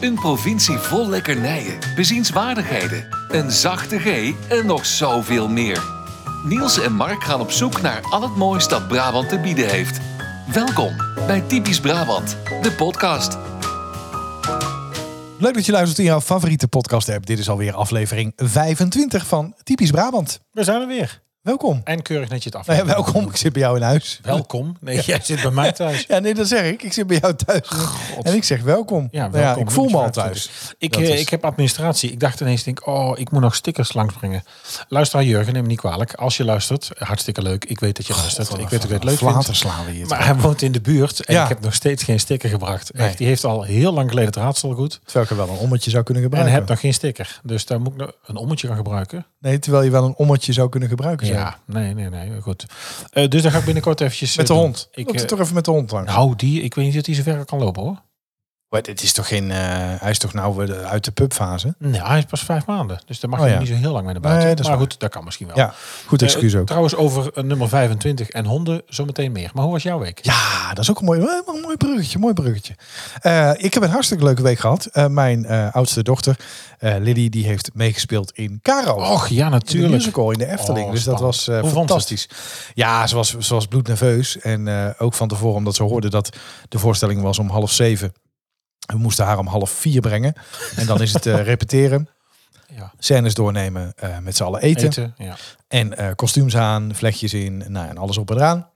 Een provincie vol lekkernijen, bezienswaardigheden, een zachte G en nog zoveel meer. Niels en Mark gaan op zoek naar al het moois dat Brabant te bieden heeft. Welkom bij Typisch Brabant, de podcast. Leuk dat je luistert in jouw favoriete podcast app. Dit is alweer aflevering 25 van Typisch Brabant. We zijn er weer. Welkom. En keurig dat je het Nou aflevert. ja, welkom, ik zit bij jou in huis. Welkom. Nee, jij zit bij mij thuis. Ja, nee, dat zeg ik. Ik zit bij jou thuis. En ik zeg welkom. Ja, Nou welkom. ik voel me al Dat is thuis. Ik, Dat eh, is- ik heb administratie. Ik dacht ineens, denk, oh, ik moet nog stickers langsbrengen. Luisteraar Jurgen, neem me niet kwalijk. Als je luistert, hartstikke leuk. Ik weet dat je luistert. Ik weet dat je het leuk Later vindt. slaan we hier. Maar hij woont in de buurt en Ja. ik heb nog steeds geen sticker gebracht. Echt, Nee. die heeft al heel lang geleden het raadselgoed. Terwijl ik er wel een ommetje zou kunnen En gebruiken. heb nog geen sticker. Dus daar moet ik nog een ommetje gaan gebruiken. Nee, terwijl je wel een ommetje zou kunnen gebruiken. zeg. Ja, nee, nee, nee. Goed. Eh, dus daar ga ik binnenkort eventjes... eh, Met de doen. hond. Ik Ik, moet eh, er toch even met de hond langs. nou, die, ik weet niet dat hij zo ver kan lopen hoor. Maar dit is toch geen, eh, hij is toch nou eh, uit de pubfase? Nee, hij is pas vijf maanden. Dus daar mag Oh je ja. niet zo heel lang mee naar buiten. Nee, dat is maar waar. goed, dat kan misschien wel. Ja, goed Eh, excuus ook. Trouwens, over eh, nummer 25 en honden zometeen meer. Maar hoe was jouw week? Ja, dat is ook een mooi, eh, een mooi bruggetje. Mooi bruggetje. Eh, ik heb een hartstikke leuke week gehad. Eh, mijn eh, oudste dochter, eh Liddy, die heeft meegespeeld in Caro. Och, ja, in de natuurlijk. musical in de Efteling. Oh, dus dat spannend. was eh, Hoe vond ze het? fantastisch. Ja, ze was, ze was bloednerveus. En eh, ook van tevoren, omdat ze hoorde dat de voorstelling was om half zeven. We moesten haar om half vier brengen. En dan is het eh, repeteren, Ja. scènes doornemen, eh, met z'n allen eten. Eten, ja. En eh, kostuums aan, vlechtjes in, nou, en alles op en eraan.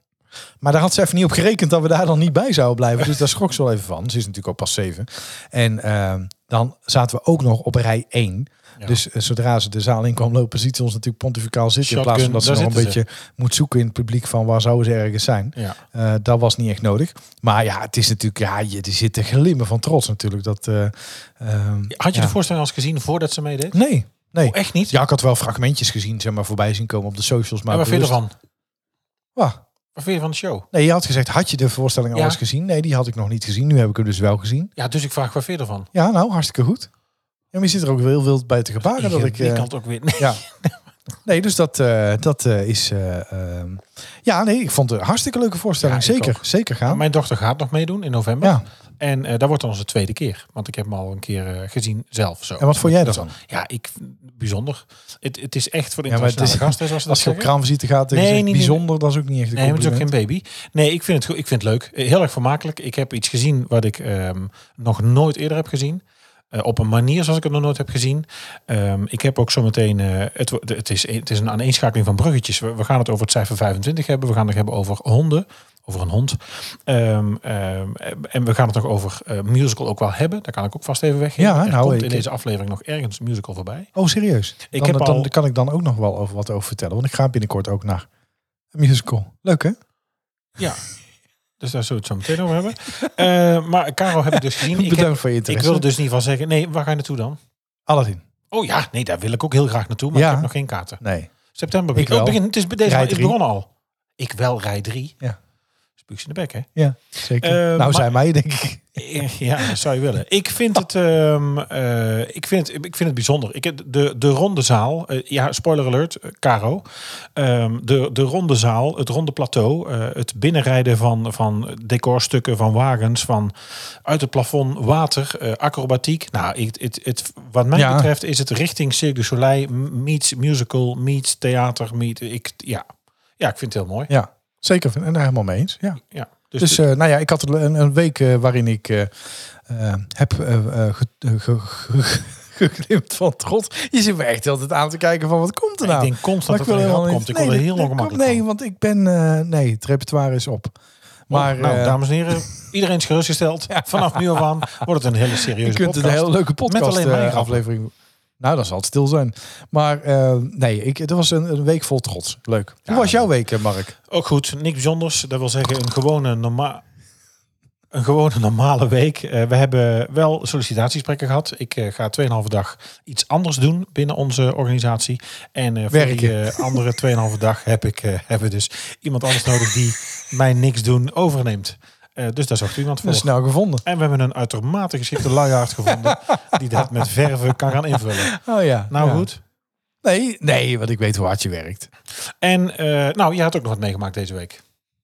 Maar daar had ze even niet op gerekend dat we daar dan niet bij zouden blijven. Dus daar schrok ze wel even van. Ze is natuurlijk ook pas zeven. En eh, dan zaten we ook nog op rij 1. Ja. Dus eh, zodra ze de zaal in kwam lopen, ziet ze ons natuurlijk pontificaal zitten. Shotgun, in plaats van dat daar ze nog een beetje zitten moet zoeken in het publiek van waar zouden ze ergens zijn. ja. Eh, dat was niet echt nodig. Maar ja, het is natuurlijk, ja, je die zit te glimmen van trots natuurlijk. Dat, eh, ehm, Had je ja. de voorstelling al eens gezien voordat ze meedeed? Nee, nee. Oh, echt niet? Ja, ik had wel fragmentjes gezien, zeg maar, voorbij zien komen op de socials. Maar en wat vind je bewust- ervan? Wauw. Wat vind je van de show? Nee, je had gezegd, had je de voorstelling al Ja. eens gezien? Nee, die had ik nog niet gezien. Nu heb ik hem dus wel gezien. Ja, dus ik vraag, wat vind je ervan? Ja, nou, hartstikke goed. Ja, maar je zit er ook heel wild bij te gebaren. Dat ik, die eh, kant ook weer. Nee. ja. Nee, dus dat, eh, dat eh, is... eh, ehm, ja, nee, ik vond het een hartstikke leuke voorstelling. Ja, ik zeker, ook. zeker gaan. Mijn dochter gaat nog meedoen in november. Ja. En eh, dat wordt dan onze tweede keer. Want ik heb hem al een keer eh, gezien zelf. Zo. En wat vond jij dat dan? Ja, ik, bijzonder. Het, het is echt voor de Ja, maar het internationale is- gasten, zoals ze dat Als je op zeggen. kraamvisite gaat, Nee, nee, niet- niet- bijzonder, dat is ook niet echt een Nee, maar het is ook compliment. geen baby. Nee, ik vind het, goed. ik vind het leuk. Eh, Heel erg vermakelijk. Ik heb iets gezien wat ik ehm, nog nooit eerder heb gezien. Eh, op een manier zoals ik het nog nooit heb gezien. Ehm, ik heb ook zometeen... eh het, wo- de- het, is, het is een aaneenschakeling van bruggetjes. We, we gaan het over het cijfer 25 hebben. We gaan het hebben over honden. Over een hond. Ehm, ehm, en we gaan het nog over eh, musical ook wel hebben. Daar kan ik ook vast even weggeven. Ja, er nou, komt ik- in deze aflevering nog ergens musical voorbij. Oh, serieus? Ik dan, heb dan al- kan ik dan ook nog wel over wat over vertellen. Want ik ga binnenkort ook naar een musical. Leuk, hè? Ja. Dus daar zullen we het zo meteen over hebben. Eh, maar Caro heb ik dus gezien. Ik Bedankt heb- voor je Ik interesse. wilde dus niet van zeggen, nee, waar ga je naartoe dan? Aladdin. Oh ja, nee, daar wil ik ook heel graag naartoe, maar Ja. ik heb nog geen kaarten. Nee. September Ik begint. Oh, wel. begin, het is deze Rij maand- het drie. begon al. Ik wel, rij 3. Ja. Spuugs in de bek, hè? Ja, zeker. Eh, nou, maar- zijn mij, denk ik. Eh, Ja, dat zou je willen. Ik vind het, ehm, eh, ik vind het, ik vind het bijzonder. Ik, heb de, de ronde zaal, eh, ja, spoiler alert, eh, Caro. Ehm, de, de ronde zaal, het ronde plateau, eh, het binnenrijden van, van decorstukken, van wagens, van uit het plafond water, eh, acrobatiek. Nou, ik, het, het, wat mij Ja. betreft is het richting Cirque du Soleil meets musical, meets theater, meet, ik, ja. ja, ik vind het heel mooi. Ja, zeker. En daar helemaal mee eens. Ja. Ja. Dus, eh, nou ja, ik had een, een week eh, waarin ik eh, eh, heb eh, eh, ge- eh, ge- ge- ge- geglimpt van trots. Je zit me echt altijd aan te kijken van wat komt er nou? ik denk Maar constant dat er een helemaal hap niet- komt. Ik nee, word er dit- heel dit ongemakkelijk komt- Nee, van. want ik ben... eh, nee, het repertoire is op. Maar Oh, nou, eh, dames en heren, iedereen is gerustgesteld. Vanaf nu af aan wordt het een hele serieuze je kunt podcast. een hele leuke podcast Met alleen mijn eh, grappen. aflevering... Nou, dan zal het stil zijn. Maar eh, nee, ik, het was een, een week vol trots. Leuk. Ja, Hoe was jouw week, eh, Mark? Ook goed, niks bijzonders. Dat wil zeggen een gewone, norma een gewone normale week. Eh, we hebben wel sollicitatiegesprekken gehad. Ik eh, ga 2,5 dag iets anders doen binnen onze organisatie. En eh, voor die Werken. eh, andere 2,5 dag heb ik eh, hebben we dus iemand anders nodig die mij niks doen overneemt. Eh, dus daar zocht u iemand voor. Dat is nou gevonden. En we hebben een uitermate geschikte luiaard gevonden die dat met verven kan gaan invullen. Oh ja. Nou ja. goed. Nee, nee, want ik weet hoe hard je werkt. En eh, nou, je had ook nog wat meegemaakt deze week.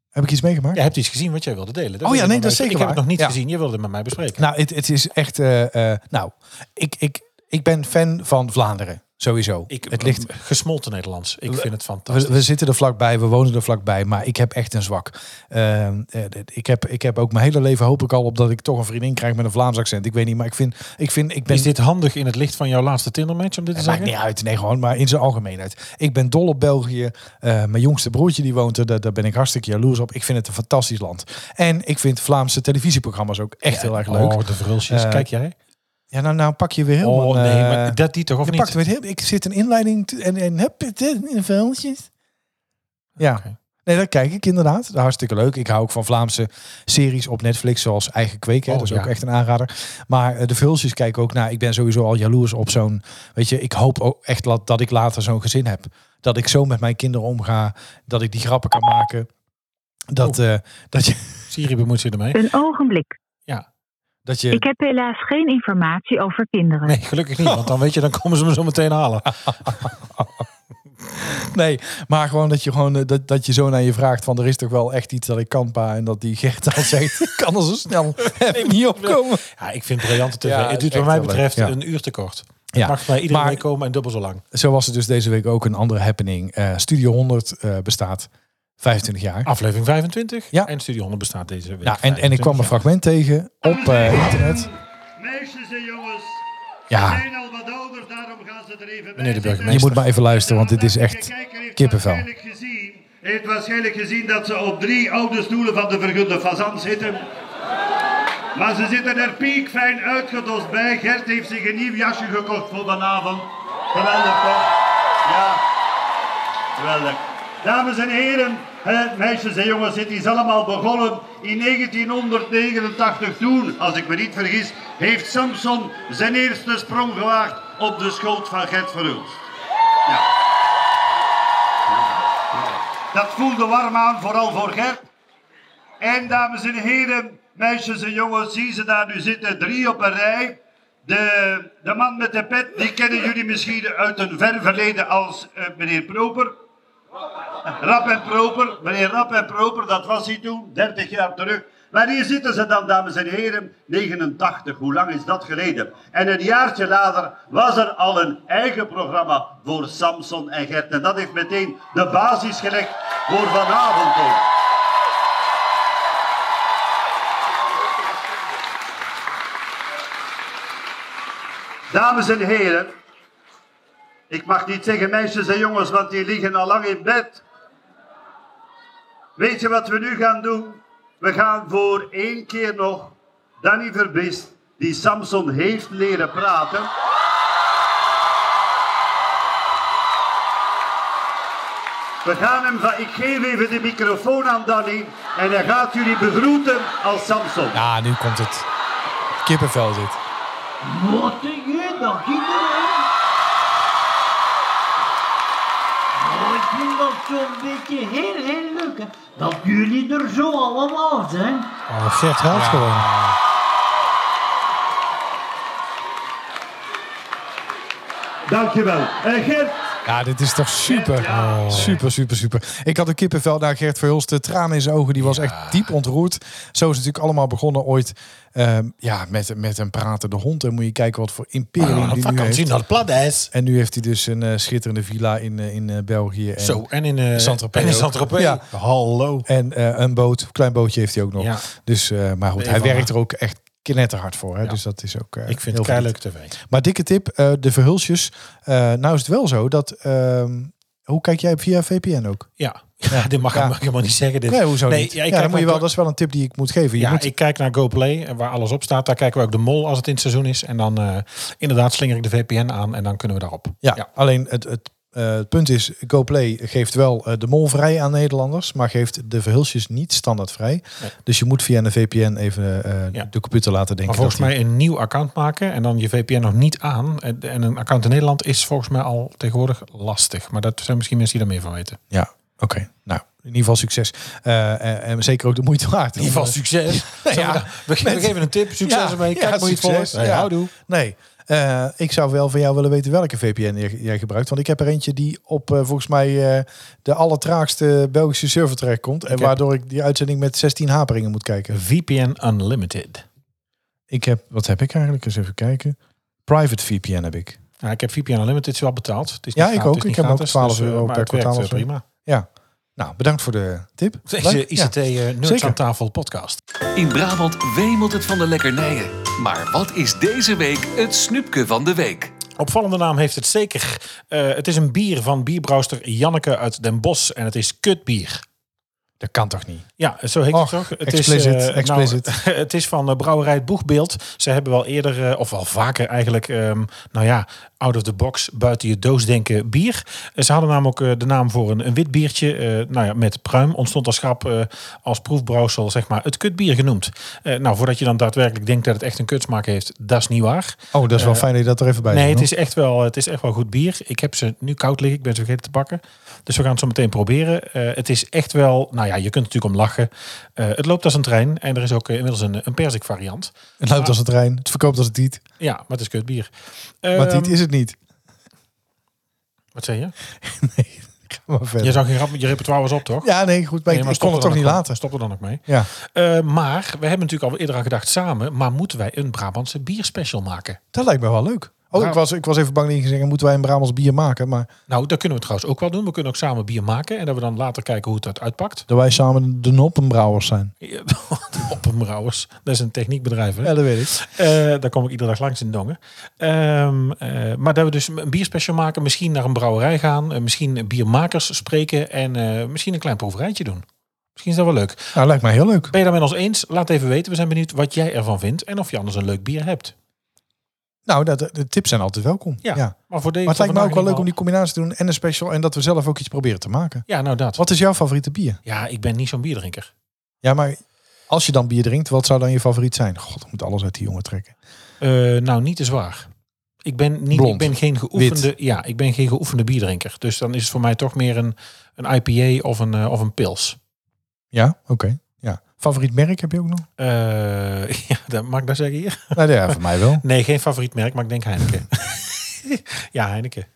Heb ik iets meegemaakt? Jij hebt iets gezien wat jij wilde delen. Oh ja, weet ik nee, nog dat is zeker nooit. Ik heb het waar. nog niet Ja. gezien. Je wilde het met mij bespreken. Nou, het, het is echt. eh, eh, nou, ik, ik, ik ben fan van Vlaanderen. Sowieso. ik, het ligt. gesmolten Nederlands. Ik vind het We, fantastisch. we zitten er vlakbij, we wonen er vlakbij, maar ik heb echt een zwak. Ehm, eh, dit- ik, heb, ik heb ook mijn hele leven hoop ik al op dat ik toch een vriendin krijg met een Vlaams accent. Ik weet niet, maar ik vind, ik, vind, ik ben Is dit handig in het licht van jouw laatste Tindermatch om dit te Het maakt zeggen? niet uit, nee, gewoon, maar in zijn algemeenheid. Ik ben dol op België. Eh, mijn jongste broertje die woont er, daar, daar ben ik hartstikke jaloers op. Ik vind het een fantastisch land. En ik vind Vlaamse televisieprogramma's ook echt heel erg leuk. Oh, de vrulsjes. Eh, Kijk jij? Ja, nou, nou pak je weer heel Oh man, nee, eh, maar dat die toch of je niet? pakt weer heel, ik zit een inleiding te- en, en heb het in vuiltjes. Ja. Oké. Nee, dat kijk ik inderdaad. Hartstikke leuk. Ik hou ook van Vlaamse series op Netflix, zoals Eigen Kweken. Oh, dat is ja. ook echt een aanrader. Maar eh, de vulsjes kijk ik ook naar. Ik ben sowieso al jaloers op zo'n... Weet je, ik hoop ook echt la- dat ik later zo'n gezin heb. Dat ik zo met mijn kinderen omga. Dat ik die grappen kan maken. Dat, Oh. eh, dat, je, Siri bemoeit zich ermee. Een ogenblik. dat je... Ik heb helaas geen informatie over kinderen. Nee, gelukkig niet. Want dan weet je, dan komen ze me zo meteen halen. Nee, maar gewoon dat je gewoon eh, dat, dat je zo naar je vraagt van er is toch wel echt iets dat ik kan pa en dat die Gert al zegt ik kan er zo snel even niet opkomen. Ja, ik vind het briljante tv. Ja, het duurt echt wat wel mij leuk. betreft Ja. een uur te kort. Ja, Mag bij iedereen maar- mee komen en dubbel zo lang. Zo was er dus deze week ook een andere happening. Eh, Studio 100 eh, bestaat 25 jaar. Aflevering 25. Ja. En Studio 100 bestaat deze week. nou, en, en ik 25 kwam een jaar. fragment tegen op eh, internet. Meisjes en jongens, Ja. ze zijn al wat ouder, daarom gaan ze er even bij Meneer de burgemeester. Je moet maar even luisteren, want dit is echt kippenvel. Waarschijnlijk gezien, heeft waarschijnlijk gezien dat ze op drie oude stoelen van de vergunde fazan zitten. Maar ze zitten er piekfijn uitgedost bij. Gert heeft zich een nieuw jasje gekocht voor vanavond. Geweldig toch? Ja, geweldig. Dames en heren, eh, meisjes en jongens, dit is allemaal begonnen in 1989 toen, als ik me niet vergis, heeft Samson zijn eerste sprong gewaagd op de schoot van Gert Verhulst. Dat voelde warm aan, vooral voor Gert. En dames en heren, meisjes en jongens, zie ze daar nu zitten, drie op een rij. De, de man met de pet, die kennen jullie misschien uit een ver verleden als eh, meneer Proper. Rap en Proper, meneer Rap en Proper, dat was hij toen, 30 jaar terug. Maar hier zitten ze dan, dames en heren, 89, hoe lang is dat geleden? En een jaartje later was er al een eigen programma voor Samson en Gert. En dat heeft meteen de basis gelegd voor vanavond ook. Dames en heren, ik mag niet zeggen meisjes en jongens, want die liggen al lang in bed. Weet je wat we nu gaan doen? We gaan voor één keer nog Danny Verbist, die Samson heeft leren praten. We gaan hem van, ik geef even de microfoon aan Danny en hij gaat jullie begroeten als Samson. Ja, nu komt het. Kippenvel dit. Wat doe je dan, kinderen? Nou, ik vind dat zo'n beetje heel, heel leuk, hè, dat jullie er zo allemaal zijn. Oh, Gert helpt gewoon. Dankjewel. En Gert, Ja, dit is toch super. Oh. Super, super, super. Ik had een kippenvel naar Gert Verhulst. De tranen in zijn ogen, die was echt diep ontroerd. Zo is het natuurlijk allemaal begonnen ooit ehm, ja, met, met een pratende hond. En moet je kijken wat voor imperium Oh, die nu vakantie heeft. naar het plat is. En nu heeft hij dus een eh, schitterende villa in, eh, in eh, België. En, Zo, en in eh Saint-Tropez en in ook. Saint-Tropez. Ja. Hallo. En eh, een boot, een klein bootje heeft hij ook nog. Ja. Dus, eh, maar goed, Nee, hij van, werkt eh, er ook echt knetterhard voor. Hè? Dus dat is ook eh, Ik vind heel het leuk. leuk tv. Maar dikke tip, eh, de verhulsjes. Eh, nou is het wel zo dat... ehm, hoe kijk jij via VPN ook? Ja. ja, dit mag Ja. mag ik helemaal niet zeggen. Dit. Nee, hoezo niet? Ja, Ja, ik dan kijk moet je naar- wel, dat is wel een tip die ik moet geven. Je Ja, moet, ik kijk naar GoPlay, eh, waar alles op staat. Daar kijken we ook de mol als het in het seizoen is. En dan eh, inderdaad slinger ik de VPN aan en dan kunnen we daarop. ja, alleen het, het, eh, het punt is, GoPlay geeft wel eh, de mol vrij aan Nederlanders, maar geeft de verhulsjes niet standaard vrij. Nee. Dus je moet via een VPN even eh, Ja. de computer laten denken. Maar volgens dat die- mij een nieuw account maken en dan je VPN nog niet aan. En en een account in Nederland is volgens mij al tegenwoordig lastig. Maar dat zijn misschien mensen die daar meer van weten. Ja, oké. Nou, in ieder geval succes. Eh, en, en zeker ook de moeite waard. eh, Eh, In ieder geval succes. Zullen we ja. daar- we, ge- we geven een tip. Succes ermee. Kijk hoe je het volgt. Hey, ja. houdoe. Nee. Eh, ik zou wel van jou willen weten welke VPN jij, jij gebruikt. Want ik heb er eentje die op eh, volgens mij eh, de allertraagste Belgische server terechtkomt. En Ik heb- waardoor ik die uitzending met 16 haperingen moet kijken. VPN Unlimited. Ik heb, wat heb ik eigenlijk? Eens even kijken. Private VPN heb ik. Nou, ik heb VPN Unlimited wel betaald. Het is Ja, niet ik gratis, ook. het is Ik heb niet ook gratis, 12 eh, euro maar per het werkt, kwartaal eh, of zo. prima. Ja. Nou, bedankt voor de tip. Deze Leuk. Ja. ICT eh, Nerds Zeker. aan tafel podcast. In Brabant wemelt het van de lekkernijen. Maar wat is deze week het snoepje van de week? Opvallende naam heeft het zeker. Eh, het is een bier van bierbrouwster Janneke uit Den Bosch. En het is kutbier. Dat kan toch niet? Ja, zo heet Och, het toch? Het explicit, is, eh, nou, explicit. het is van eh, brouwerij Het Boegbeeld. Ze hebben wel eerder, eh, of wel vaker eigenlijk, ehm, nou ja, out of the box, buiten je doos denken, bier. Eh, ze hadden namelijk eh, de naam voor een, een wit biertje, eh, nou ja, met pruim, ontstond als grap, eh, als proefbrouwsel, zeg maar, het kutbier genoemd. Eh, nou, voordat je dan daadwerkelijk denkt dat het echt een kutsmaak heeft, dat is niet waar. Oh, dat is wel Eh, fijn dat je dat er even bij Nee, zegt, het hoor. is, echt wel, het is echt wel goed bier. Ik heb ze nu koud liggen. Ik ben ze vergeten te pakken. Dus we gaan het zo meteen proberen. Eh, het is echt wel... Nou ja, je kunt er natuurlijk om lachen. Eh, het loopt als een trein. En er is ook eh, inmiddels een, een perzik variant. Het loopt als het trein. Het verkoopt als het niet. Ja, maar het is kut bier. Maar dit Ehm, is het niet. Wat zei je? Ga maar verder. Je zag geen grap, je repertoire was op, toch? Ja, nee, goed. Maar Nee, ik- maar ik kon stop het er toch niet dan ook- laten. Stop er dan ook mee. Ja, Eh, maar we hebben natuurlijk al eerder aan gedacht samen. Maar moeten wij een Brabantse bierspecial maken? dat lijkt me wel leuk. Oh, ik was, ik was even bang dat je ging zeggen, moeten wij een Brabants bier maken? Maar Nou, dat kunnen we trouwens ook wel doen. We kunnen ook samen bier maken. En dat we dan later kijken hoe het dat uitpakt. dat wij samen de noppenbrouwers zijn. op een brouwers. Dat is een techniekbedrijf, hè? Ja, dat weet ik. Eh, daar kom ik iedere dag langs in Dongen. Ehm, eh, maar dat we dus een bierspecial maken, misschien naar een brouwerij gaan, eh, misschien biermakers spreken en eh, misschien een klein proeverijtje doen. Misschien is dat wel leuk. Nou, lijkt mij heel leuk. Ben je dat met ons eens? Laat even weten. We zijn benieuwd wat jij ervan vindt en of je anders een leuk bier hebt. Nou, dat, de tips zijn altijd welkom. Ja. Ja, Maar, voor de, Maar het lijkt me ook wel leuk om die niet. combinatie te doen en een special. En dat we zelf ook iets proberen te maken. Ja, nou dat. Wat is jouw favoriete bier? Ja, ik ben niet zo'n bierdrinker. Ja, maar als je dan bier drinkt, wat zou dan je favoriet zijn? God, ik moet alles uit die jongen trekken. Eh, nou, niet te zwaar. Ik ben, niet, ik Blond. ben geen geoefende, ja, ik ben geen geoefende bierdrinker. Dus dan is het voor mij toch meer een, een IPA of een, eh, of een pils. Ja, oké. Ja. Favoriet merk heb je ook nog? Eh, ja, dat mag ik dat zeggen hier? nou ja, voor mij wel. Nee, geen favoriet merk, maar ik denk Heineken. ja, Heineken.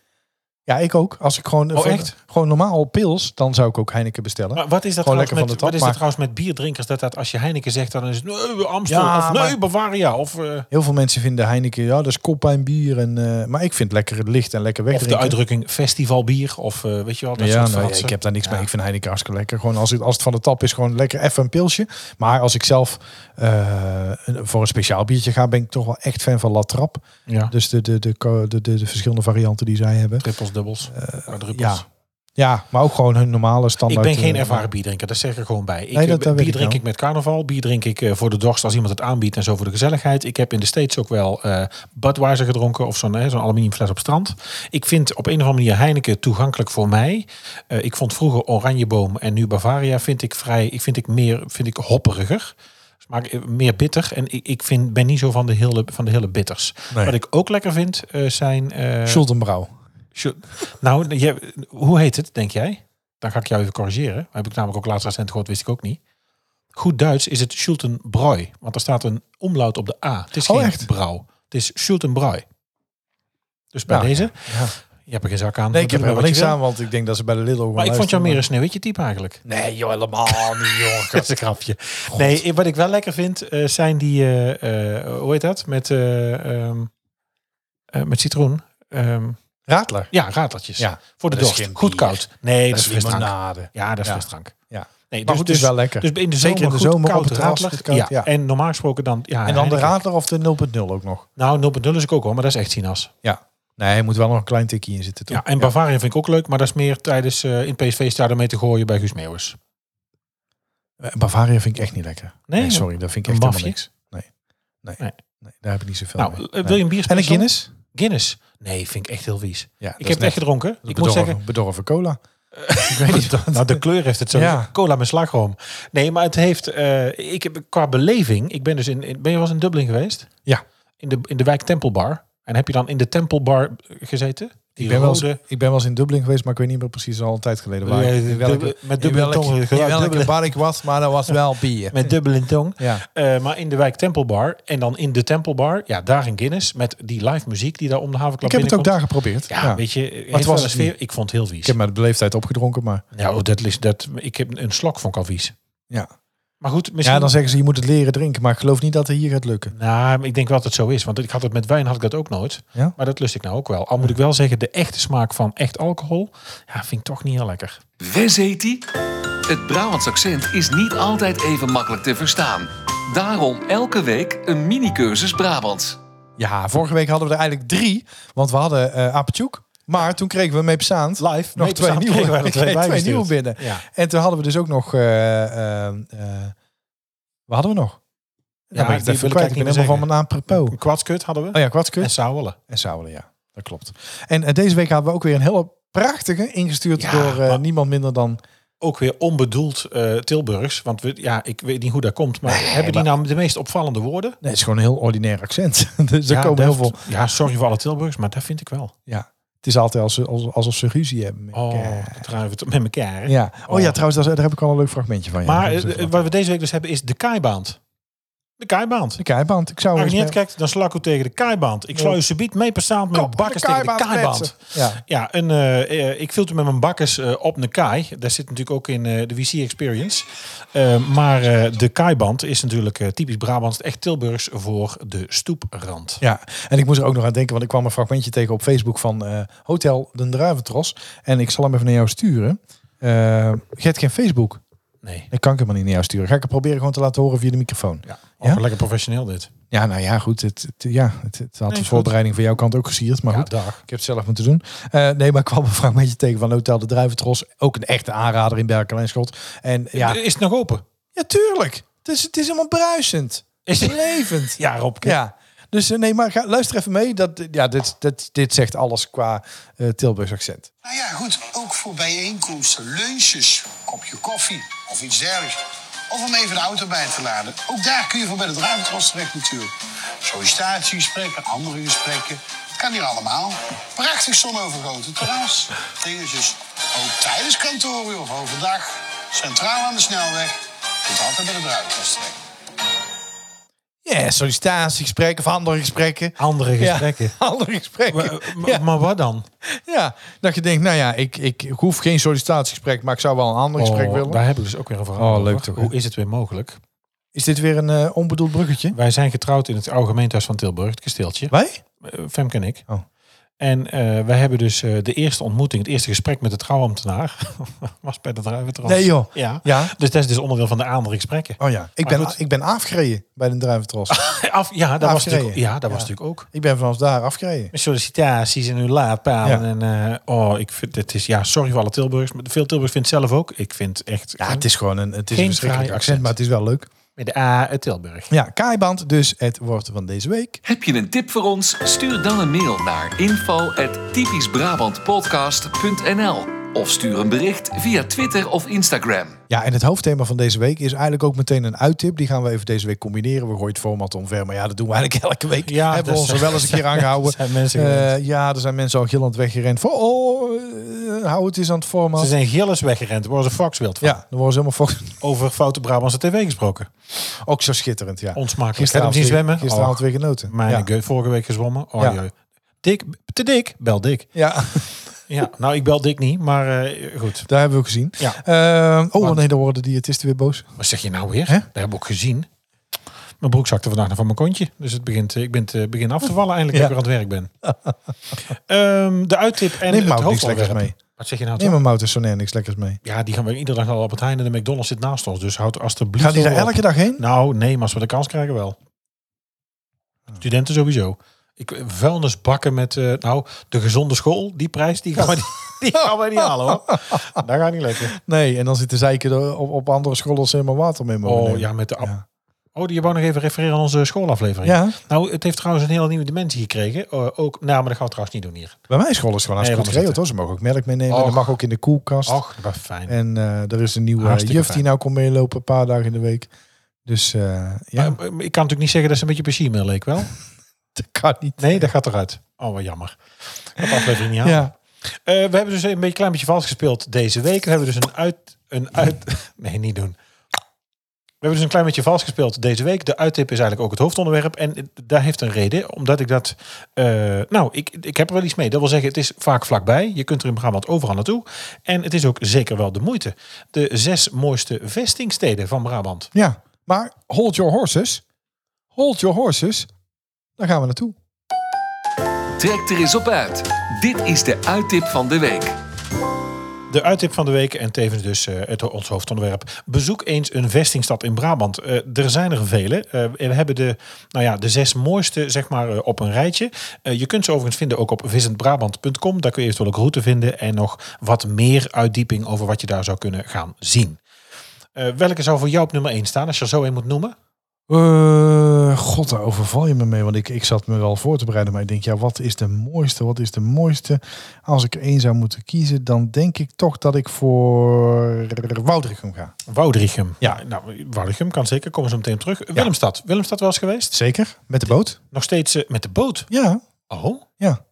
Ja, ik ook. Als ik gewoon, Oh, voor- echt? gewoon normaal pils, dan zou ik ook Heineken bestellen. Maar wat is Gewoon dat, trouwens lekker van met, de tap, wat is dat maar- trouwens met bierdrinkers? Dat, dat als je Heineken zegt, dan is het nee, Amstel Ja, of nee, maar- Bavaria. Of, eh, Heel veel mensen vinden Heineken, ja, dat is koppijnbier. En, eh, maar ik vind lekker het licht en lekker of de wegdrinken. uitdrukking festivalbier. Of eh, weet je wel, dat ja, soort nou, fratsen. ik heb daar niks mee. Ik vind Heineken hartstikke lekker. Gewoon als het, als het van de tap is, gewoon lekker even een pilsje. Maar als ik zelf eh, een- voor een speciaal biertje ga, ben ik toch wel echt fan van La Trap. Ja. Dus de, de, de, ko- de, de, de verschillende varianten die zij hebben. Trippels, dubbels, quadruppels. Eh, Ja. ja, maar ook gewoon hun normale Ik standaard. ben geen eh, ervaren bierdrinker, dat zeg ik er gewoon bij. Ik, Nee, dat- dat eh, weet bier ik drink wel. ik met carnaval, bier drink ik eh, voor de dorst als iemand het aanbiedt en zo voor de gezelligheid. Ik heb in de States ook wel eh Budweiser gedronken of zo'n eh, zo'n aluminium fles op strand. Ik vind op een of andere manier Heineken toegankelijk voor mij. Eh, ik vond vroeger Oranjeboom en nu Bavaria vind ik vrij, ik vind ik meer, vind ik hopperiger. Smaak eh, meer bitter en ik, ik vind, ben niet zo van de hele, van de hele bitters. Nee. Wat ik ook lekker vind eh, zijn... eh, Schultenbrouw. Sjoe- Nou, je, hoe heet het, denk jij? Dan ga ik jou even corrigeren. Dat heb ik namelijk ook laatst recent gehoord, wist ik ook niet. Goed Duits is het Schultenbräu. Want er staat een omlaut op de A. Het is Oh, geen echt? brouw. Het is Schultenbräu. Dus bij Nou, deze, ja. je hebt er geen zak aan. Nee, ik heb Doe er wel maar wat niks je wil. aan, want ik denk dat ze bij de Lidl gewoon Maar ik vond luisteren. jou meer een sneeuwwitje type eigenlijk. Nee, joh, helemaal niet, joh. Dat is een grapje. Nee, wat ik wel lekker vind, eh, zijn die, eh, eh, hoe heet dat? Met, eh, ehm, eh, met citroen. Ehm, Raadler. ja, rateltjes. Ja, voor de dat is dorst. geen Goed bier. koud. Nee, dat, Dat is is frisdrank. limonade. Ja, dat is Ja. frisdrank. Ja. Nee, Maar goed, het is wel lekker. Dus in de zomer, Zeker in de goed zomer op koud het terras, radler. goed koud, ja. ja. En normaal gesproken dan... Ja, En dan de Heineken. Raadler of de 0.0 ook nog? Nou, 0.0 is ik ook wel, maar dat is echt sinaas. Ja. Nee, er moet wel nog een klein tikje in zitten, toch? Ja, en Bavaria vind ik ook leuk, maar dat is meer tijdens eh, in PSV-stadion mee te gooien bij Guus Meeuwis. Eh, Bavaria vind ik echt niet lekker. Nee, Nee, sorry, dat vind ik een echt helemaal niks. mafje? Nee. Nee. Nee. nee. daar heb ik niet zoveel nou, mee. eh, wil Nee. je een bier En een Guinness? Guinness? Nee, vind ik echt heel vies. Ja, dat ik is heb het net echt gedronken. Ik bedorven, moet zeggen... Bedorven cola. ik weet niet wat- Nou, de kleur heeft het zo. Ja. Cola met slagroom. Nee, maar het heeft... eh, ik heb, qua beleving... Ik ben dus in, in- Ben je wel eens in Dublin geweest? Ja. In de, in de wijk Tempelbar. En heb je dan in de Tempelbar gezeten? Die Ik ben, wel eens, rode. ik ben wel eens in Dublin geweest, maar ik weet niet meer precies al een tijd geleden waar. Ja, ik- in welke- dubbel- met in dubbele welke- tongen, in gewoon welke dubbele- bar ik was, maar dat was wel bier. Met dubbel in tong. Ja. Eh, maar in de wijk Tempelbar. En dan in de Tempelbar. Ja, daar in Guinness. Met die live muziek die daar om de havenklap ik heb het ook binnenkomt. daar geprobeerd. Ja, weet je. heeft was wel een het sfeer. niet. Ik vond het heel vies. Ik heb maar de leeftijd opgedronken, maar Ja, oh, dat, is- dat, ik heb een slok van vies. ja. Maar goed, misschien... Ja, dan zeggen ze je moet het leren drinken, maar ik geloof niet dat het hier gaat lukken. Nou, maar ik denk wel dat het zo is. Want ik had het met wijn had ik dat ook nooit. Ja? Maar dat lust ik nou ook wel. Al moet ik wel zeggen, de echte smaak van echt alcohol... Ja, vind ik toch niet heel lekker. Wes heet die? Het Brabants accent is niet altijd even makkelijk te verstaan. Daarom elke week een mini-cursus Brabants. Ja, vorige week hadden we er eigenlijk drie, want we hadden eh Apetjoek. Maar toen kregen we Meepsaand Live, nog twee Meepsaand nieuwe, kregen wij er twee twee bij gestuurd. nieuwe binnen. Ja. En toen hadden we dus ook nog... eh, eh, eh, wat hadden we nog? Ja, Ja, ben ik het die even wil ik kwijt. Ik ben eigenlijk helemaal van niet mijn naam propos. Een kwartskut hadden we. Oh ja, kwartskut. En sauwelen. En Sauwelen, ja. Dat klopt. En eh, deze week hadden we ook weer een hele prachtige ingestuurd Ja, door eh, maar- niemand minder dan... Ook weer onbedoeld eh, Tilburgs. Want we, ja, ik weet niet hoe dat komt. Maar hebben die nou de meest opvallende woorden? Nee, het is gewoon een heel ordinair accent. dus er ja, komen heel dat- veel... Ja, sorry voor alle Tilburgers, maar dat vind ik wel. Ja, het is altijd als, als, alsof ze ruzie hebben. eh, met Oh, elkaar. dat draaien we het met elkaar. hè? Ja. Oh, Oh. ja, trouwens, daar, daar heb ik al een leuk fragmentje van. Ja. Maar Dat eh, is even- wat we deze week dus hebben is de kaaiband. De kaaiband. de keiband. Ik zou Als je eens niet bij- kijkt, dan slak ik tegen de kaaiband. Ik sla je subiet mee persaand met Kop, bakkers tegen de keiband kaaiband. kletsen. Ja. Ja, en eh, eh, ik viel toen met mijn bakkers eh, op een kaai. Daar zit natuurlijk ook in eh, de VC Experience. Eh, maar eh, de kaaiband is natuurlijk eh, typisch Brabants, echt Tilburgs voor de stoeprand. Ja, en ik moest er ook nog aan denken, want ik kwam een fragmentje tegen op Facebook van eh, Hotel Den Druiventros. En ik zal hem even naar jou sturen. Eh, je hebt geen Facebook. Nee. Ik kan ik helemaal niet naar jou sturen. Ga ik het proberen gewoon te laten horen via de microfoon. Ja, Ja? ook lekker professioneel dit. Ja, nou ja, goed. Het, het- ja, het, het had is de goed. voorbereiding van jouw kant ook gesierd. Maar Ja, goed, dag. ik heb het zelf moeten doen. Eh, nee, maar ik kwam een fragmentje tegen van Hotel de Druiventros. Ook een echte aanrader in Berkel en Schot. En ja, Is het nog open? ja tuurlijk. Het is, het is helemaal bruisend. Is Het het- is levend. Ja, Rob. Ja. Dus eh, nee, maar ga, luister even mee. Dat, ja, dit, dit, dit zegt alles qua eh Tilburgs accent. Nou ja, goed, ook voor bijeenkomsten, lunches, kopje koffie of iets dergelijks. Of om even de auto bij te laden. Ook daar kun je voor bij de ruimtros terecht natuurlijk. Sollicitatiegesprekken, andere gesprekken. Het kan hier allemaal. Prachtig zonovergoten terras. Dingetjes. Ook tijdens kantoren of overdag. Centraal aan de snelweg. Je kunt altijd bij de ruimtros terecht. Ja, sollicitatiegesprekken of andere gesprekken. Andere gesprekken. Ja, andere gesprekken. Maar, eh, maar- ja. maar wat dan? Ja, dat je denkt, nou ja, ik, ik hoef geen sollicitatiegesprek, maar ik zou wel een ander gesprek Oh, willen. Daar heb ik dus ook weer een verhaal Oh, over. leuk toch, hè? Hoe is het weer mogelijk? Is dit weer een eh, onbedoeld bruggetje? Wij zijn getrouwd in het oude gemeentehuis van Tilburg, het kasteeltje. Wij? Eh, Femke en ik. Oh. En eh, wij hebben dus eh, de eerste ontmoeting, het eerste gesprek met de trouwambtenaar. was bij de druiventras. Nee, joh. Ja. Ja. Dus dat is dus onderdeel van de andere gesprekken. Oh ja, ik Maar ben, goed. ik ben afgereden bij de druiventros. Af, ja, dat, was Afgereden. natuurlijk, ja, Ja. dat was natuurlijk ook. ik ben vanaf daar afgereden. Met sollicitaties en uw laadpalen. Ja. En, eh, oh, ik vind, het is, ja, sorry voor alle Tilburgers. Maar veel Tilburgers vindt het zelf ook. Ik vind echt Ja, het is gewoon een, het is Geen een verschrikkelijk fraai accent, accent. maar het is wel leuk. met de A uit Tilburg. Ja, kaaiband, dus het woord van deze week. Heb je een tip voor ons? Stuur dan een mail naar info@typischbrabantpodcast.nl of stuur een bericht via Twitter of Instagram. Ja, en het hoofdthema van deze week is eigenlijk ook meteen een uittip. Die gaan we even deze week combineren. We gooien het format omver, maar ja, dat doen we eigenlijk elke week. Ja, Ja, Hebben we dat ons er zijn- wel eens een keer aangehouden. zijn mensen Eh, gewend. ja, er zijn mensen al gillend weggerend. Van, oh, eh, hou het eens aan het format. Ze zijn gilles weggerend. Worden ze Foxwild van. Ja, dan worden ze helemaal fox. Over foute Brabantse tv gesproken. Ook zo schitterend, ja. Onsmakelijk. Gisteravond Heb je hem weer- zien zwemmen? Gisteravond Oh. weer genoten. Mijn ja. geu- vorige week gezwommen. Oh, Ja. jee. Dik, te dik, bel dik. ja, Ja, nou, ik bel dik niet, maar eh, goed. daar hebben we gezien. Ja. Eh, oh nee, daar worden die diëtisten weer boos. Wat zeg je nou weer? Hè? Dat hebben we ook gezien. Mijn broek zakte vandaag nog van mijn kontje. Dus het begint, eh, ik ben te, begin af te vallen eindelijk Ja. dat ik weer aan het werk ben. Ehm, de uittip en Neem het Mout niks hoofdonderwerp. lekkers mee. Wat zeg je nou? Neem toch? een mout en Sonair niks lekkers mee. Ja, die gaan we iedere dag naar de Albert Heijn en de McDonald's zit naast ons. Dus houd alsjeblieft Gaat die daar over op. elke dag heen? Nou, nee, maar als we de kans krijgen wel. Studenten sowieso. Ik, eh, vuilnisbakken met, eh, nou, de gezonde school, die prijs, die gaan we, die gaan we niet halen hoor. Dat gaat niet lekker. Nee, en dan zitten zeiken er op, op andere scholen als ze helemaal water mee mogen Oh nemen. ja, met de app. Ja. Oh, die wou nog even refereren aan onze schoolaflevering. Ja. Nou, het heeft trouwens een hele nieuwe dimensie gekregen. Eh, ook, nou, maar dat gaan we trouwens niet doen hier. Bij mijn school is het gewoon hartstikke goed Nee, geregeld. laat Hoor. Ze mogen ook melk meenemen. Och. Dat mag ook in de koelkast. Och, wat fijn. En eh, er is een nieuwe Hartstikke juf die fijn. nou komt meelopen een paar dagen in de week. Dus eh, ja, Maar, eh, ik kan natuurlijk niet zeggen dat ze een beetje plezier meer leek wel. dat kan niet. Nee, dat gaat eruit. Oh, wat jammer. Dat aflevering niet aan. Ja. Eh, we hebben dus een beetje, klein beetje vals gespeeld deze week. We hebben dus een uit... Een uit nee, niet doen. We hebben dus een klein beetje vals gespeeld deze week. De uittip is eigenlijk ook het hoofdonderwerp. En eh, daar heeft een reden. Omdat ik dat... eh, nou, ik, ik heb er wel iets mee. Dat wil zeggen, het is vaak vlakbij. Je kunt er in Brabant overal naartoe. En het is ook zeker wel de moeite. De zes mooiste vestingsteden van Brabant. Ja, maar hold your horses. Hold your horses. Daar gaan we naartoe. Trek er eens op uit. Dit is de uittip van de week. De uittip van de week en tevens dus eh, het, ons hoofdonderwerp. Bezoek eens een vestingstad in Brabant. Eh, er zijn er vele. Eh, we hebben de, nou ja, de zes mooiste zeg maar, eh, op een rijtje. Eh, je kunt ze overigens vinden ook op visitbrabant.com. Daar kun je eventueel ook route vinden en nog wat meer uitdieping over wat je daar zou kunnen gaan zien. Eh, welke zou voor jou op nummer 1 staan, als je er zo een moet noemen? Eh, God, daar overval je me mee. Want ik, ik zat me wel voor te bereiden. Maar ik denk, ja, wat is de mooiste? Wat is de mooiste? Als ik er één zou moeten kiezen, dan denk ik toch dat ik voor Woudrichem ga. Woudrichem. Ja. nou, Woudrichem kan zeker. Komen ze meteen op terug. Willemstad. Willemstad was geweest. Zeker? Met de boot? Nog steeds eh, met de boot. Ja. Oh? Ja.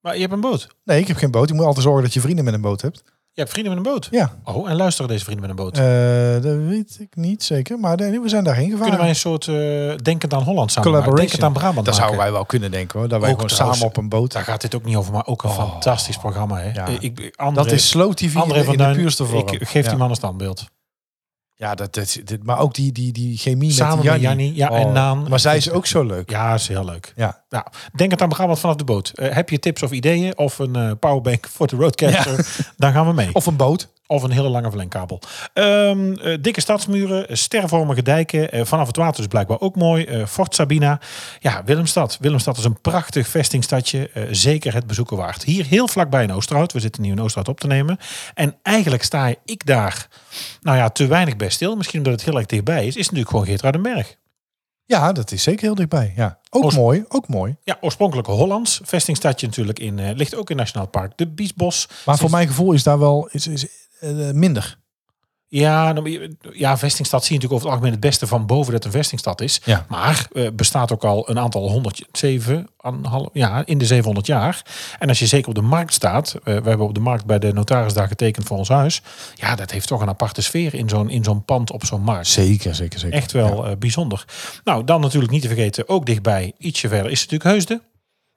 Maar je hebt een boot. Nee, ik heb geen boot. Je moet altijd zorgen dat je vrienden met een boot hebt. Je hebt vrienden met een boot. Ja. Oh, en luisteren deze vrienden met een boot. Eh, dat weet ik niet zeker. Maar nee, we zijn daarheen gevaren. Kunnen wij een soort eh denkend aan Holland samen maken? Collaboration. Denkend aan Brabant dat maken? zouden wij wel kunnen denken hoor. Dat wij Ook gewoon trouwens- samen op een boot. Daar gaat dit ook niet over, maar ook een fantastisch programma. Hè? Oh. Ja. Eh, Ik, André, Dat is Slow TV in de- André in, van de Duin, puurste vorm. Ik geef ja. die man een standbeeld. Ja, dat, dat, dit- maar ook die, die, die chemie Samen met met Jannie. Oh, Jannie, ja, en Naan. Maar zij is ook zo leuk. Ja. Ja, is heel leuk. Nou, denkend aan Brabant vanaf de boot. Eh, heb je tips of ideeën of een eh, powerbank voor de roadcaster? Dan gaan we mee. Of een boot. Of een hele lange verlengkabel. Ehm, eh, dikke stadsmuren, eh, stervormige dijken. eh, vanaf het water is blijkbaar ook mooi. Eh, Fort Sabina. Ja, Willemstad. Willemstad is een prachtig vestingstadje. eh, zeker het bezoeken waard. Hier heel vlakbij in Oosterhout. We zitten nu in Oosterhout op te nemen. En eigenlijk sta ik daar, nou ja, te weinig bij stil. Misschien omdat het heel erg dichtbij is. Is natuurlijk gewoon Geertruidenberg. Ja, dat is zeker heel dichtbij. Ja. Ook Oost- mooi, ook mooi. Ja, oorspronkelijk Hollands. Vestingstadje natuurlijk in, eh, ligt ook in Nationaal Park. De Biesbos. Maar voor mijn gevoel is daar wel is, is, eh, minder. Ja, nou, je- ja, vestingstad zie je natuurlijk over het algemeen het beste van boven dat het een vestingstad is. Ja. Maar eh, bestaat ook al een aantal honderd, zeven, anderhalf- ja, in de 700 jaar. En als je zeker op de markt staat, eh, we hebben op de markt bij de notaris daar getekend voor ons huis. Ja, dat heeft toch een aparte sfeer in zo'n, in zo'n pand op zo'n markt. Zeker, zeker, zeker. Echt wel eh, bijzonder. Nou, dan natuurlijk niet te vergeten, ook dichtbij, ietsje verder, is natuurlijk Heusden.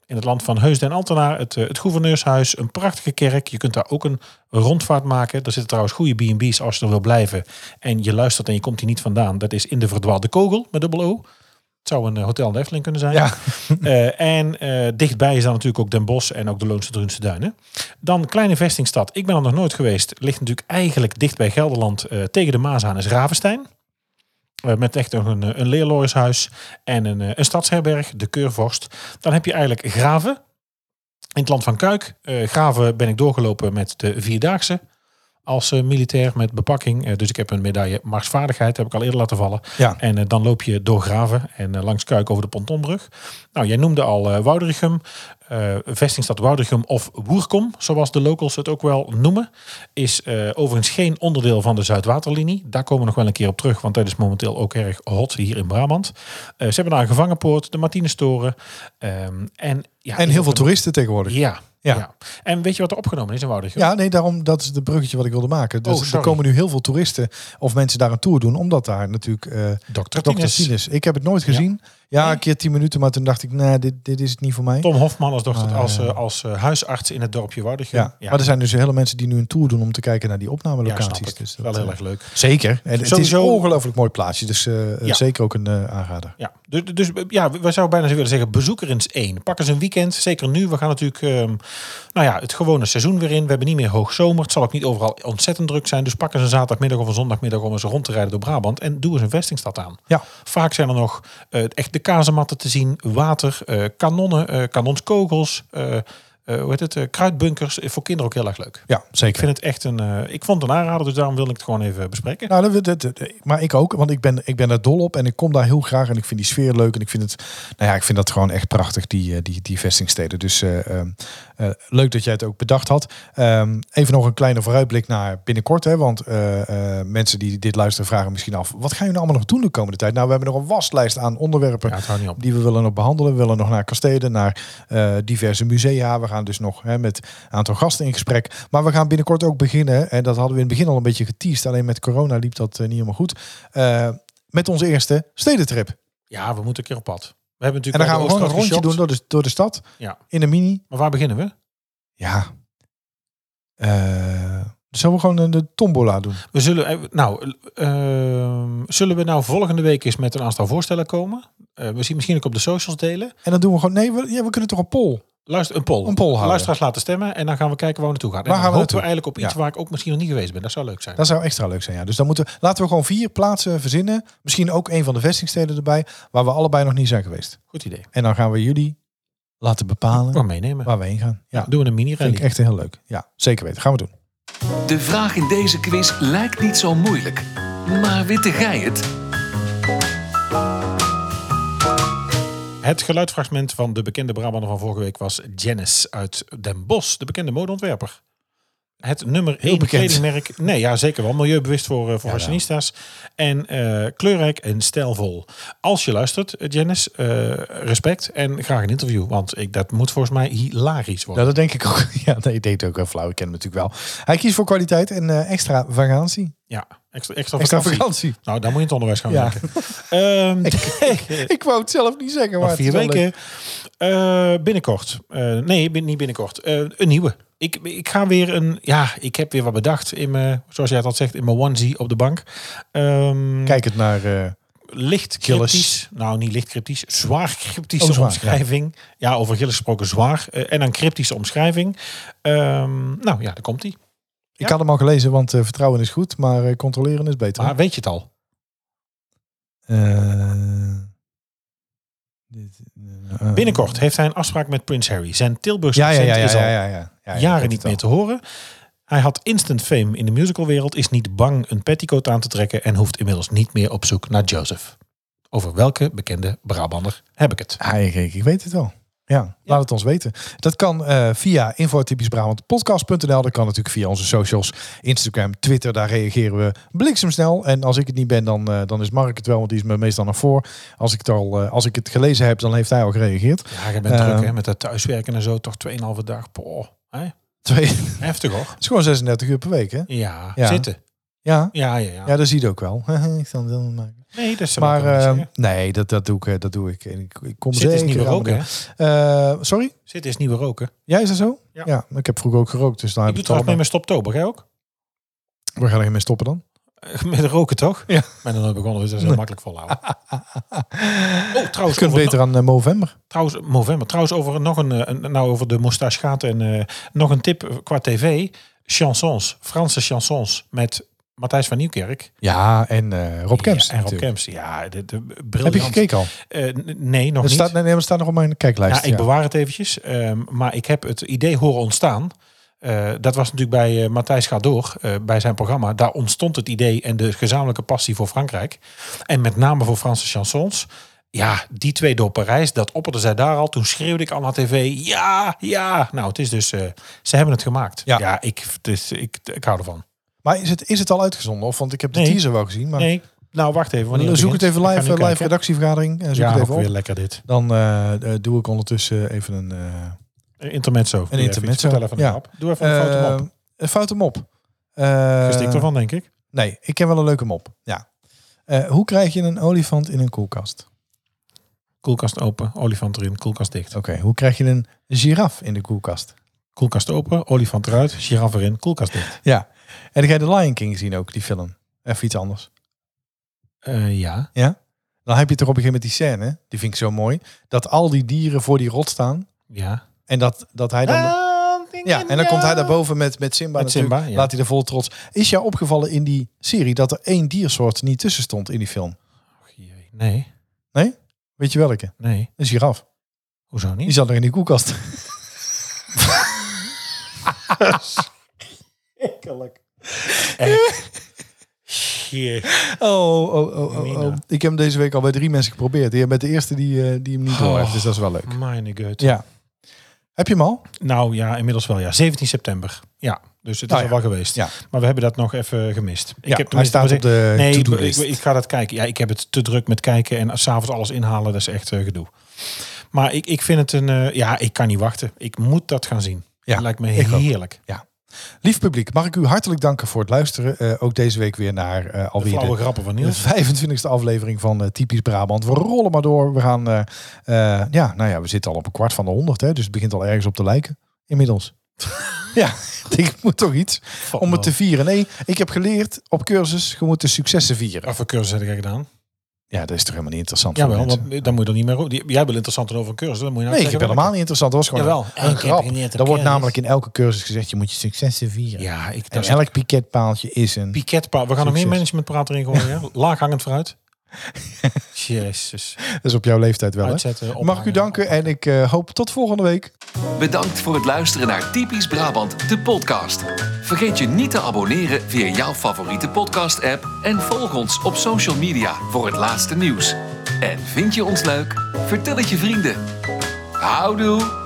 In het land van Heusden en Altenaar, het, eh, het gouverneurshuis, een prachtige kerk. Je kunt daar ook een rondvaart maken. Er zitten trouwens goede B&B's als je er wil blijven. En je luistert en je komt hier niet vandaan. Dat is in de verdwaalde kogel, met dubbel O. Het zou een eh, hotel in de Efteling kunnen zijn. Ja. Eh, en eh, dichtbij is dan natuurlijk ook Den Bosch en ook de Loonse Drunse Duinen. Dan kleine vestingstad. Ik ben er nog nooit geweest. Ligt natuurlijk eigenlijk dicht bij Gelderland eh, tegen de Maas aan is Ravenstein. Eh, met echt nog een, eh, een leerlooiershuis en een, eh, een stadsherberg, de Keurvorst. Dan heb je eigenlijk Graven in het land van Kuik. Eh, Graven ben ik doorgelopen met de Vierdaagse als eh, militair met bepakking. Eh, dus ik heb een medaille marsvaardigheid, heb ik al eerder laten vallen. Ja. En eh, dan loop je door Graven en eh, langs Kuik over de Pontonbrug. Nou, jij noemde al eh Woudrichem, eh, vestingstad Woudrichem of Woerkom, zoals de locals het ook wel noemen. Is eh, overigens geen onderdeel van de Zuidwaterlinie. Daar komen we nog wel een keer op terug, want dat is momenteel ook erg hot hier in Brabant. Eh, ze hebben daar een gevangenpoort, de Martinestoren. ehm, en, ja, En heel veel toeristen tegenwoordig. Ja. Ja, ja. Ja. En weet je wat er opgenomen is in Woudrichem? nee, daarom dat is het bruggetje wat ik wilde maken. Oh, Dus er sorry. komen nu heel veel toeristen of mensen daar een tour doen, omdat daar natuurlijk eh Dr. Dr. Tines. Tines. Ik heb het nooit gezien. Ja, een keer tien minuten, maar toen dacht ik, nee, dit, dit is het niet voor mij. Tom Hofman als, dochter, Ah, als, ja. eh, als eh, huisarts in het dorpje Woudrichem. Ja. maar er zijn dus hele mensen die nu een tour doen om te kijken naar die ja, opnamelocaties. snap ik. dus wel dat, heel eh, erg leuk. Zeker. En het is een Sowieso- ongelooflijk mooi plaatsje. Dus eh, Ja. zeker ook een eh, aanrader. Ja, dus, dus ja, we zouden bijna willen zeggen, bezoek er eens één. Pak eens een weekend, zeker nu. We gaan natuurlijk ehm, nou ja, het gewone seizoen weer in. We hebben niet meer hoogzomer. Het zal ook niet overal ontzettend druk zijn. Dus pak eens een zaterdagmiddag of een zondagmiddag om eens rond te rijden door Brabant. En doe eens een vestingstad aan. Ja. Vaak zijn er nog eh, echt de kazematten te zien, water, eh, kanonnen, eh kanonskogels. eh, eh, hoe heet het, eh, kruidbunkers voor kinderen ook heel erg leuk. Ja, Ik zeker. vind het echt een, eh, ik vond het een aanrader, dus daarom wil ik het gewoon even bespreken. Nou, dat, dat- dat- maar ik ook, want ik ben, ik ben daar dol op en ik kom daar heel graag en ik vind die sfeer leuk en ik vind het, nou ja, ik vind dat gewoon echt prachtig, die, eh, die, die vestingsteden. Dus eh, ehm, eh, leuk dat jij het ook bedacht had. Ehm, even nog een kleine vooruitblik naar binnenkort, hè, want eh, eh, mensen die dit luisteren vragen misschien af, wat gaan jullie nou allemaal nog doen de komende tijd? Nou, we hebben nog een waslijst aan onderwerpen Ja, het houdt niet op. die we willen nog behandelen. We willen nog naar kastelen, naar eh, diverse musea. We gaan dus nog hè, met een aantal gasten in gesprek. Maar we gaan binnenkort ook beginnen. En dat hadden we in het begin al een beetje geteased. Alleen met corona liep dat eh, niet helemaal goed. Eh, met onze eerste stedentrip. Ja, we moeten een keer op pad. We hebben En natuurlijk dan gaan al we de gewoon een Oostvaart rondje doen geshopt. door de, door de stad. Ja. In de mini. Maar waar beginnen we? Ja. Eh, zullen we gewoon een- de tombola doen? We zullen, eh, nou, ehm, zullen we nou volgende week eens met een aantal voorstellen komen? Eh, we zien misschien ook op de socials delen. En dan doen we gewoon... Nee, we, ja, we kunnen toch een poll? Luister, een poll. Een poll houden. Luisteraars laten stemmen en dan gaan we kijken waar we naartoe gaan. En Waar dan gaan we hopen we naartoe? eigenlijk op iets Ja. waar ik ook misschien nog niet geweest ben. Dat zou leuk zijn. Dat zou extra leuk zijn, ja. Dus dan moeten, we- laten we gewoon vier plaatsen verzinnen. Misschien ook een van de vestingsteden erbij... waar we allebei nog niet zijn geweest. Goed idee. En dan gaan we jullie laten We bepalen meenemen. waar we heen gaan. Ja, Ja, doen we een mini-rally. vind ik echt heel leuk. Ja, zeker weten. Gaan we doen. De vraag in deze quiz lijkt niet zo moeilijk. Maar witte gij het? Het geluidfragment van de bekende Brabander van vorige week was Janice uit Den Bosch, de bekende modeontwerper. Het nummer één bekend. kledingmerk. Nee, ja, zeker wel. Milieubewust voor, eh, voor fashionistas. En eh, kleurrijk en stijlvol. Als je luistert, eh, Janice, eh, respect en graag een interview. Want ik, dat moet volgens mij hilarisch worden. Ja, Nou, dat denk ik ook. Ja, nee, ik deed ook wel flauw. Ik ken hem natuurlijk wel. Hij kiest voor kwaliteit en eh, extra vakantie. ja, extra, extra, Extra vakantie. vakantie. Nou, daar moet je in het onderwijs gaan Ja. maken. Ehm, Ik wou het zelf niet zeggen, maar Nog het vier is wel leuk. weken. Eh, binnenkort. Eh, nee, bin- niet binnenkort. Eh, een nieuwe. Ik, ik ga weer een. Ja, ik heb weer wat bedacht in mijn, zoals jij het al zegt, in mijn onesie op de bank. Ehm, Kijk het naar... eh, licht Gillis. cryptisch. Nou, niet licht cryptisch. Zwaar cryptische Oh, zwaar, omschrijving. Ja. over Gillis gesproken zwaar. Eh, en een cryptische omschrijving. Ehm, nou ja, daar komt die. ik had hem al gelezen, want eh, vertrouwen is goed, maar eh, controleren is beter. Maar weet je het al? Eh, dit- eh, Binnenkort heeft hij een afspraak met Prins Harry. Zijn Tilburgse Ja, ja, accent ja, ja, is al ja, ja, ja, ja, ja, ik jaren heb het niet meer al. te horen. Hij had instant fame in de musicalwereld, is niet bang een petticoat aan te trekken en hoeft inmiddels niet meer op zoek naar Joseph. Over welke bekende Brabander heb ik het? Ah, ik, ik, ik weet het al. Ja, laat het ons weten. Dat kan eh, via infotypischbrabantpodcast.nl. Dat kan natuurlijk via onze socials. Instagram, Twitter, daar reageren we bliksemsnel. En als ik het niet ben, dan, eh, dan is Mark het wel, want die is me meestal naar voor. Als ik, het al, eh, als ik het gelezen heb, dan heeft hij al gereageerd. Ja, je bent Eh, druk hè, met dat thuiswerken en zo, toch 2,5 dag. Poh, hè? Twee, het Heftig hoor. is gewoon 36 uur per week, hè? Ja, Ja. zitten. Ja, Ja, ja, ja. ja dat zie je ook wel. ik zal het wel maken. Nee, dat is Maar maar, ehm, eh, nee, dat, dat, doe ik, eh, dat doe ik. En ik, ik kom Zitten is zeker dus niet aan roken, mijn- hè? Eh, Sorry? Zitten is nieuwe roken. Ja, is dat zo? Ja. ik heb vroeger ook gerookt, dus daar Ik heb doe ik trouwens mee allemaal... met Stoptober, jij ook? We gaan er geen mee stoppen dan. Met roken toch? Ja. Maar dan begonnen we dus dat is heel makkelijk volhouden. Oh, Je trouwens, kunt over- beter aan eh, Movember. Trouwens, Movember. Trouwens, over nog een, eh, een- nou over de moustache gaat en eh, nog een tip qua tv. Chansons, Franse chansons met Matthijs van Nieuwkerk. Ja, en eh, Rob Kemps. Ja, en Rob natuurlijk. Kemps. Ja, de, de, Heb briljant. je gekeken al? Eh, n- nee, nog Het niet. staat, nee, nee, maar het staat nog op mijn kijklijst. ja, ik bewaar het eventjes. ehm, maar ik heb het idee horen ontstaan. Eh, dat was natuurlijk bij eh, Matthijs gaat door, eh, bij zijn programma. Daar ontstond het idee en de gezamenlijke passie voor Frankrijk. En met name voor Franse chansons. Ja, die twee door Parijs, dat opperde zij daar al. Toen schreeuwde ik al naar tv, ja, ja. Nou, het is dus, eh, ze hebben het gemaakt. Ja. Ja, ik, dus, ik, ik hou ervan. Maar is het, is het al uitgezonden? Of, want ik heb de Nee. teaser wel gezien. Maar Nee, nou, wacht even. Wanneer zoek het begint. even Ik ga live, nu eh, live kijken. redactievergadering. eh, Zoek Ja, het even ook weer op. lekker dit. Dan eh, eh, doe ik ondertussen even een, eh Een intermezzo. Doe even een iets. intermezzo. Vertel even een Ja. grap. Doe even een foto Eh, mop. Een foute mop. Eh, Gestikt ervan, denk ik. Nee, ik ken wel een leuke mop. Ja. Eh, hoe krijg je een olifant in een koelkast? Koelkast open, olifant erin, koelkast dicht. Oké, hoe krijg je een giraf in de koelkast? Koelkast open, olifant eruit, giraf erin, koelkast dicht. Ja. En dan ga je de Lion King zien ook, die film. Even iets anders. Eh, ja. Ja? Dan heb je toch op een gegeven moment die scène, die vind ik zo mooi, dat al die dieren voor die rot staan Ja. en dat, dat hij dan... ja, en dan komt hij daarboven met, met Simba Met natuurlijk. Simba, ja. Laat hij er vol trots. Is jou opgevallen in die serie dat er één diersoort niet tussen stond in die film? Nee, Weet je welke? nee. Een giraf. Hoezo Die niet? zat er in die koelkast. Schrikkelijk. Echt. Jee. Oh, oh, oh, oh, Mina. oh. Ik heb hem deze week al bij drie mensen geprobeerd. Je bent de eerste die, eh, die hem niet door heeft, dus dat is wel leuk. Mijn god. Ja. Heb je hem al? Nou ja, inmiddels wel ja. 17 september. Ja, dus het is Nou al ja. wel geweest. Ja. Maar we hebben dat nog even gemist. Ja, hij tenminste- staat op de nee, ik, to-do-list. ik- ik ga dat kijken. Ja, ik heb het te druk met kijken en s'avonds alles inhalen. Dat is echt eh, gedoe. Maar ik, ik vind het een... eh, ja, ik kan niet wachten. Ik moet dat gaan zien. Ja, dat lijkt me ik ook. heerlijk. Lief publiek, mag ik u hartelijk danken voor het luisteren. Eh, ook deze week weer naar eh, De alweer flauwe de, grappen van de Niels. 25e aflevering van eh, Typisch Brabant. We rollen maar door. We gaan, eh, eh, ja, nou ja, we zitten al op een kwart van de 100, hè, dus het begint al ergens op te lijken. Inmiddels. ja, ik moet toch iets om het te vieren. Nee, ik heb geleerd op cursus, je moet de successen vieren. Of een cursus heb ik gedaan. Ja, dat is toch helemaal niet interessant voor Oh. Jawel, mensen? want dan moet je er niet meer over. die- Jij wil interessant over een cursus. Dan moet je nou Nee, ik heb zeggen helemaal niet interessant. Dat was gewoon Jawel. een, een Ik heb grap. geleerd op Er wordt cursus. namelijk in elke cursus gezegd, je moet je successen vieren. welke. Ja, ik, En dat is elk piketpaaltje is een... piketpaal. We gaan er meer Succes. managementpraat erin gooien. Ja. Laaghangend fruit. Jezus. Dat is op jouw leeftijd wel, hè? Uitzetten, Mag ik u ophangen. danken en ik eh, hoop tot volgende week. Bedankt voor het luisteren naar Typisch Brabant, de podcast. Vergeet je niet te abonneren via jouw favoriete podcast-app en volg ons op social media voor het laatste nieuws. En vind je ons leuk? Vertel het je vrienden. Houdoe!